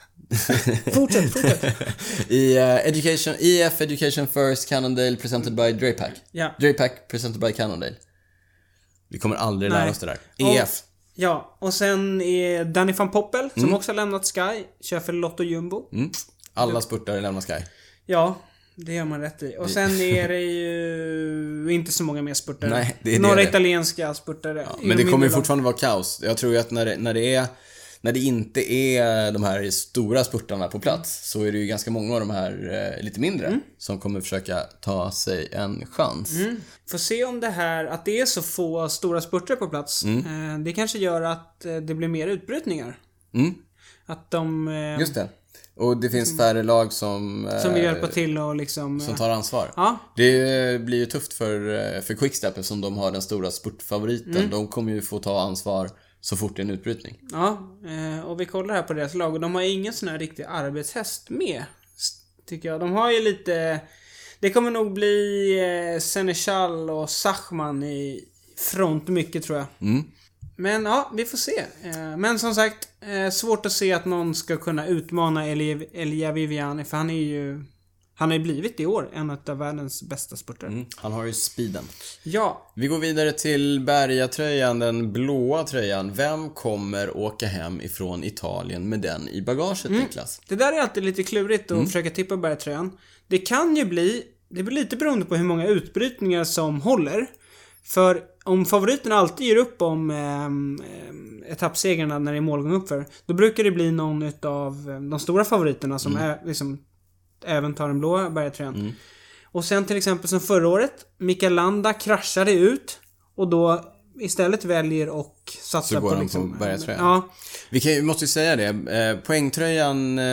Speaker 1: fortsätt, fortsätt.
Speaker 2: I eh, Education, EF Education First Cannondale presented by Drapack.
Speaker 1: Ja.
Speaker 2: Drapack presented by Cannondale. Vi kommer aldrig lära
Speaker 1: Nej.
Speaker 2: oss det där. E
Speaker 1: Och-
Speaker 2: EF.
Speaker 1: Ja, och sen är Danny van Poppel, som också har lämnat Sky, kör för Lotto Jumbo.
Speaker 2: Mm. Alla spurtare lämnar Sky.
Speaker 1: Ja, det gör man rätt i. Och sen är det ju inte så många mer spurtare.
Speaker 2: Nej, det är det
Speaker 1: Några
Speaker 2: det är.
Speaker 1: italienska spurtare.
Speaker 2: Ja, Men det kommer ju
Speaker 1: Mindelag.
Speaker 2: fortfarande vara kaos. Jag tror ju att när det, när det är när det inte är de här stora spurtarna på plats så är det ju ganska många av de här eh, lite mindre
Speaker 1: Mm.
Speaker 2: som kommer försöka ta sig en chans.
Speaker 1: Får se om det här, att det är så få stora spurtare på plats, eh, det kanske gör att eh, det blir mer utbrytningar.
Speaker 2: Mm.
Speaker 1: Att de eh,
Speaker 2: Just det. Och det finns färre lag som, eh,
Speaker 1: Mm. som vill hjälpa till och liksom... eh,
Speaker 2: som tar ansvar.
Speaker 1: Ja,
Speaker 2: Det blir ju tufft för, eh, för Quickstep eftersom de har den stora spurtfavoriten.
Speaker 1: Mm.
Speaker 2: De kommer ju få ta ansvar så fort det är en utbrytning.
Speaker 1: ja. eh, Och vi kollar här på deras lag och de har ingen sån här riktig arbetshäst med. s- Tycker jag. De har ju lite... Det kommer nog bli eh, Senechal och Sachman i front mycket tror jag.
Speaker 2: Mm.
Speaker 1: Men ja, vi får se. Eh, Men som sagt, eh, svårt att se att någon ska kunna utmana Elie- Elia Viviani för han är ju... Han har ju blivit i år en av världens bästa spurtare.
Speaker 2: Mm. Han har ju speeden.
Speaker 1: Ja,
Speaker 2: Vi går vidare till Berga-tröjan, den blåa tröjan. Vem kommer åka hem ifrån Italien med den i bagaget, Niklas?
Speaker 1: det där är alltid lite klurigt att
Speaker 2: Mm.
Speaker 1: försöka tippa bergtröjan. Det kan ju bli... Det blir lite beroende på hur många utbrytningar som håller. För om favoriterna alltid ger upp om ehm, ehm, etappsegrarna när det är målgång uppför, då brukar det bli någon utav eh, de stora favoriterna som
Speaker 2: Mm.
Speaker 1: är, liksom, även tar den blåa bergtröjan. Och sen till exempel som förra året, Mikael Landa kraschade ut och då istället väljer och satsa
Speaker 2: Så går
Speaker 1: på
Speaker 2: han
Speaker 1: liksom...
Speaker 2: på bergtröjan.
Speaker 1: Ja,
Speaker 2: Vi, kan, vi måste ju säga det. Eh, Poängtröjan, eh,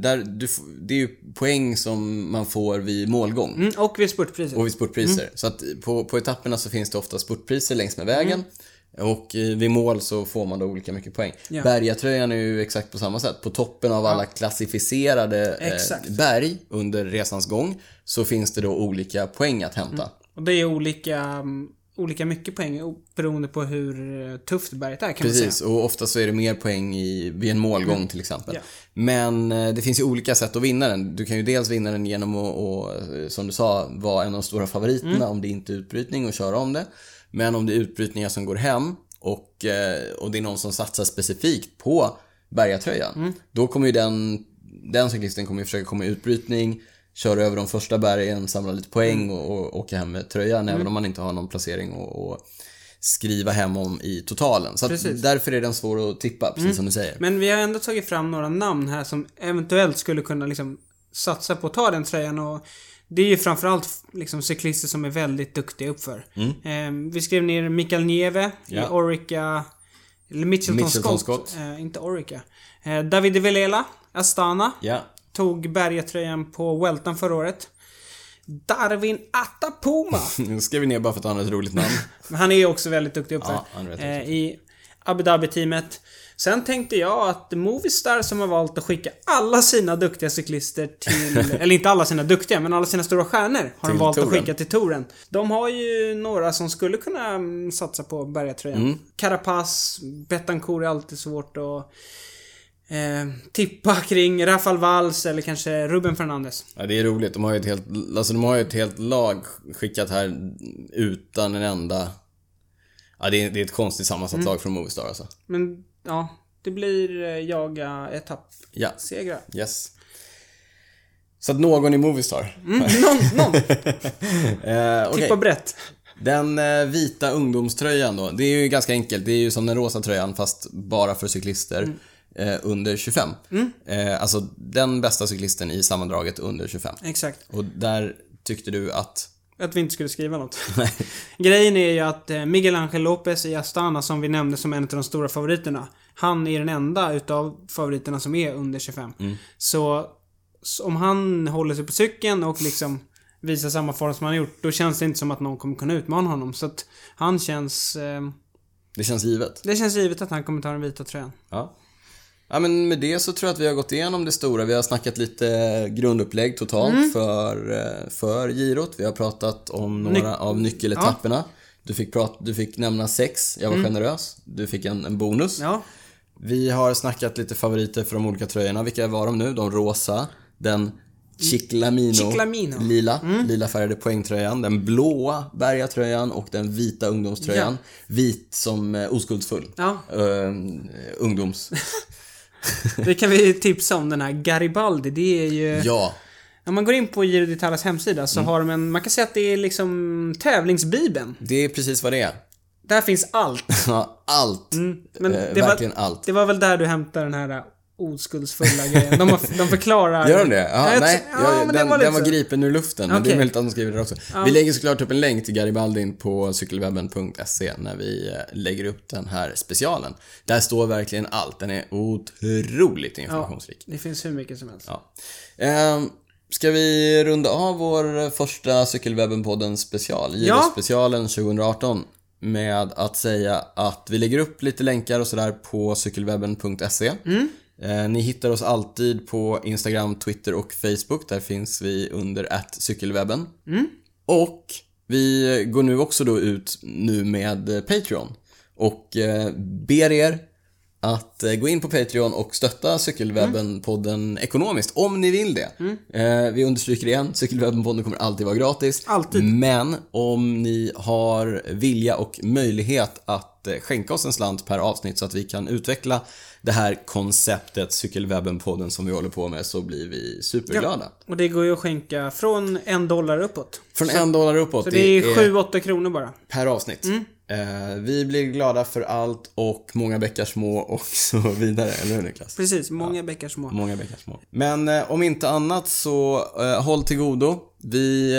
Speaker 2: där du, f- det är ju poäng som man får vid målgång.
Speaker 1: mm, och vid spurtpriset.
Speaker 2: Och vid spurtpriser.
Speaker 1: Mm.
Speaker 2: Så att på, på etapperna så finns det ofta spurtpriser längs med vägen. Och eh, vid mål så får man då olika mycket poäng.
Speaker 1: Mm. Ja.
Speaker 2: Bergatröjan är ju exakt på samma sätt. På toppen av alla klassificerade
Speaker 1: Exakt.
Speaker 2: eh, berg under resans gång så finns det då olika poäng att hämta.
Speaker 1: Och det är olika, mm, olika mycket poäng o- beroende på hur eh, tufft berget är kan man
Speaker 2: Precis,
Speaker 1: säga. Mm.
Speaker 2: och ofta så är det mer poäng i, vid en målgång till exempel.
Speaker 1: Ja.
Speaker 2: Men eh, det finns ju olika sätt att vinna den. Du kan ju dels vinna den genom att, att, eh, som du sa, vara en av de stora favoriterna
Speaker 1: Mm.
Speaker 2: om det inte är utbrytning och köra om det. Men om det är utbrytningar som går hem och, eh, och det är någon som satsar specifikt på bergatröjan.
Speaker 1: Mm.
Speaker 2: Då kommer ju den, den cyklisten kommer ju försöka komma i utbrytning, köra över de första bergen, samla lite
Speaker 1: Mm.
Speaker 2: poäng och, och åka hem med tröjan även om man inte har någon placering och, och skriva hem om i totalen. Så att
Speaker 1: Precis. Mm.
Speaker 2: därför är den svår att tippa, precis som du säger.
Speaker 1: Men vi har ändå tagit fram några namn här som eventuellt skulle kunna liksom satsa på att ta den tröjan och det är ju framförallt f- liksom cyklister som är väldigt duktiga uppför. Eh, vi skrev ner Mikael Nieve,
Speaker 2: Mm. Ja.
Speaker 1: ja. Orica, eller Mitchelton,
Speaker 2: Mitchelton
Speaker 1: Scott.
Speaker 2: Scott.
Speaker 1: Eh, inte Orica. Eh, Davide Velela, Astana.
Speaker 2: Ja.
Speaker 1: Tog bergatröjan på Weltan förra året. Darwin Atapuma.
Speaker 2: Nu skrev vi ner bara för att han har ett roligt namn.
Speaker 1: Men han är ju också väldigt duktig uppför.
Speaker 2: Ja, han är väldigt
Speaker 1: eh, I Abu Dhabi-teamet. Sen tänkte jag att Movistar som har valt att skicka alla sina duktiga cyklister till... eller inte alla sina duktiga, men alla sina stora stjärnor har de
Speaker 2: Till
Speaker 1: valt
Speaker 2: touren.
Speaker 1: att skicka till touren. De har ju några som skulle kunna mm, satsa på bergatröjan.
Speaker 2: Mm.
Speaker 1: Carapaz, Betancourt är alltid svårt att... Eh, tippa kring Rafael Valls eller kanske Ruben Fernandes.
Speaker 2: Ja, det är roligt. De har ju ett helt, alltså, de har ju ett helt lag skickat här utan en enda... Ja, det är, det är ett konstigt sammansatt
Speaker 1: Mm.
Speaker 2: lag från Movistar alltså.
Speaker 1: Men ja, det blir eh, jaga etappsegrar.
Speaker 2: Ja, yes. Så att någon i Movistar.
Speaker 1: Mm, någon, någon.
Speaker 2: Eh, okej.
Speaker 1: Tippa brett.
Speaker 2: Den eh, vita ungdomströjan då, det är ju ganska enkelt. Det är ju som den rosa tröjan fast bara för cyklister eh, under 25. Eh, alltså den bästa cyklisten i sammandraget under 25.
Speaker 1: Exakt.
Speaker 2: Och där tyckte du att...
Speaker 1: Att vi inte skulle skriva något. Grejen är ju att eh, Miguel Angel Lopez i Astana, som vi nämnde som en av de stora favoriterna, han är den enda utav favoriterna som är under 25. Så, så om han håller sig på cykeln och liksom visar samma form som han gjort, då känns det inte som att någon kommer kunna utmana honom. Så att han känns... Eh,
Speaker 2: Det känns givet.
Speaker 1: det känns givet att han kommer ta den vita tröjan.
Speaker 2: Ja. Ja, men med det så tror jag att vi har gått igenom det stora. Vi har snackat lite grundupplägg totalt för, eh, för girot. Vi har pratat om några av nyckeletapperna. Du, fick prat, du fick nämna sex. Jag var generös. Du fick en, en bonus.
Speaker 1: Ja.
Speaker 2: Vi har snackat lite favoriter för de olika tröjorna. Vilka var de nu? De rosa, den Chiclamino,
Speaker 1: Chiclamino. Mm.
Speaker 2: lila, lila färgade poängtröjan, den blåa bergatröjan och den vita ungdomströjan. Vit som eh, oskuldsfull.
Speaker 1: Ja.
Speaker 2: Eh, ungdoms.
Speaker 1: Det kan vi tipsa om den här Garibaldi. Det är ju...
Speaker 2: ja.
Speaker 1: När man går in på Giro d'Italas hemsida så har de en... Man kan säga att det är liksom tävlingsbibeln.
Speaker 2: Det är precis vad det är.
Speaker 1: Där finns allt.
Speaker 2: Ja, Allt.
Speaker 1: Mm, Men
Speaker 2: Eh,
Speaker 1: det, var,
Speaker 2: verkligen allt.
Speaker 1: det var väl där du hämtade den här oskuldsfulla grejen. De, har, de förklarar...
Speaker 2: Gör de det? Ja,
Speaker 1: jag
Speaker 2: nej,
Speaker 1: tror-
Speaker 2: jag,
Speaker 1: ja, men
Speaker 2: den,
Speaker 1: det var lite
Speaker 2: den var
Speaker 1: så.
Speaker 2: gripen ur luften. Men det är
Speaker 1: Okej.
Speaker 2: möjligt att de skriver det också. Vi lägger såklart upp en länk till Garibaldin på cykelwebben.se när vi eh, lägger upp den här specialen. Där står verkligen allt. Den är otroligt informationsrik.
Speaker 1: Det finns hur mycket som helst.
Speaker 2: Ja. Ehm, ska vi runda av vår första Cykelwebben-podden special, Giro-specialen 2018, med att säga att vi lägger upp lite länkar och sådär på cykelwebben.se. Eh, Ni hittar oss alltid på Instagram, Twitter och Facebook. Där finns vi under cykelwebben. Och vi går nu också då ut nu med eh, Patreon och eh, ber er att eh, gå in på Patreon och stötta
Speaker 1: Mm.
Speaker 2: Cykelwebben-podden ekonomiskt om ni vill det. Eh, Vi understryker igen, Cykelwebben-podden kommer alltid vara gratis.
Speaker 1: Alltid.
Speaker 2: Men om ni har vilja och möjlighet att eh, skänka oss en slant per avsnitt så att vi kan utveckla det här konceptet Cykelwebben-podden som vi håller på med så blir vi superglada.
Speaker 1: Och det går ju att skänka från en dollar uppåt.
Speaker 2: Från en dollar uppåt.
Speaker 1: Så det är 7-8 kronor bara.
Speaker 2: per avsnitt.
Speaker 1: Mm.
Speaker 2: Eh, vi blir glada för allt och många bäckar små och så vidare. Eller hur Niklas?
Speaker 1: Precis, många bäckar små.
Speaker 2: Många bäckar små. Men eh, om inte annat så eh, håll till godo. Vi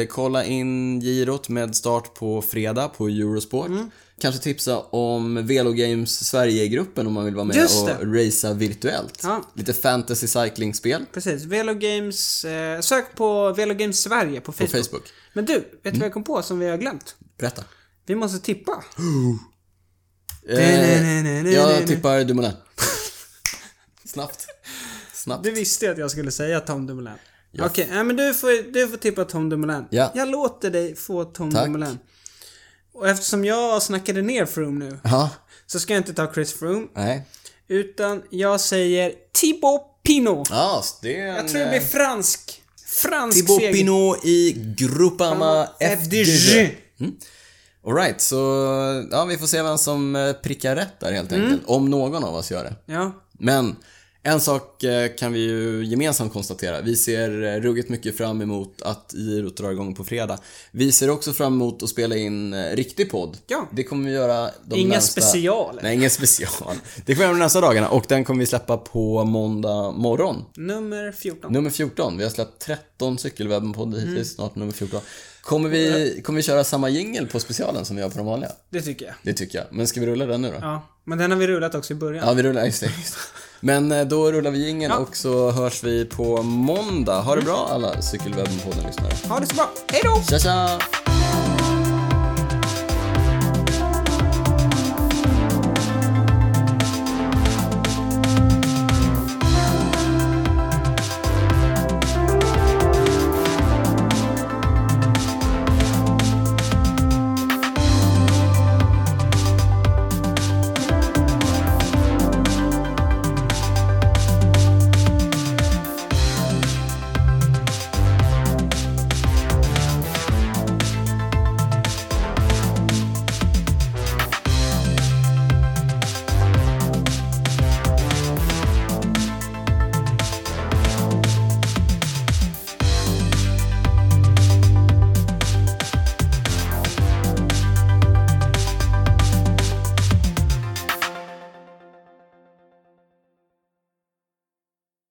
Speaker 2: eh, kollar in girot med start på fredag på Eurosport.
Speaker 1: Mm.
Speaker 2: Kanske tipsa om Velo Games Sverige-gruppen om man vill vara med
Speaker 1: Just det.
Speaker 2: och racea virtuellt.
Speaker 1: Ja.
Speaker 2: Lite fantasy cycling-spel
Speaker 1: Precis. Velo Games... Eh, sök på Velo Games Sverige på
Speaker 2: på
Speaker 1: Facebook.
Speaker 2: Facebook. Mm.
Speaker 1: Men du, vet du vad jag kom på som vi har glömt?
Speaker 2: Berätta.
Speaker 1: Vi måste tippa.
Speaker 2: Eh, jag tippar Dumoulin. Snabbt. Snabbt.
Speaker 1: Du visste ju att jag skulle säga Tom Dumoulin. Okej, nej, men du får, du får tippa Tom Dumoulin.
Speaker 2: Ja.
Speaker 1: Jag låter dig få Tom
Speaker 2: Tack.
Speaker 1: Dumoulin. Och eftersom jag snackade ner Froome nu
Speaker 2: Ja,
Speaker 1: så ska jag inte ta Chris Froome.
Speaker 2: nej.
Speaker 1: Utan jag säger Thibaut Pinot.
Speaker 2: Ja, det är en... eh,
Speaker 1: Jag tror det blir fransk. Fransk
Speaker 2: Thibaut
Speaker 1: seger.
Speaker 2: Pinot i Groupama FDG.
Speaker 1: FDJ.
Speaker 2: Alright, så ja, vi får se vem som eh, prickar rätt där helt
Speaker 1: Mm.
Speaker 2: enkelt. Om någon av oss gör det.
Speaker 1: Ja.
Speaker 2: Men en sak eh, kan vi ju gemensamt konstatera. Vi ser eh, ruggigt mycket fram emot att Girot drar igång på fredag. Vi ser också fram emot att spela in eh, riktig podd.
Speaker 1: Ja.
Speaker 2: Det kommer vi göra de
Speaker 1: Inga
Speaker 2: närmsta...
Speaker 1: specialer.
Speaker 2: Nej, inga special. Det kommer vi göra de nästa dagarna och den kommer vi släppa på måndag morgon.
Speaker 1: Nummer 14.
Speaker 2: Nummer 14. Vi har släppt 13 Cykelwebben-podd hittills, snart nummer 14. Kommer vi, kommer vi köra samma jingel på specialen som vi gör på de vanliga?
Speaker 1: Det tycker jag.
Speaker 2: Det tycker jag. Men ska vi rulla den nu då? Ja,
Speaker 1: Ja. Men den har vi rullat också i början.
Speaker 2: vi rullar. Just det. just det. Men eh, då rullar vi jingeln och så hörs vi på måndag. Ha det bra alla Cykelwebben-podden-lyssnare.
Speaker 1: Ha det så bra. Hej då!
Speaker 2: Tja tja!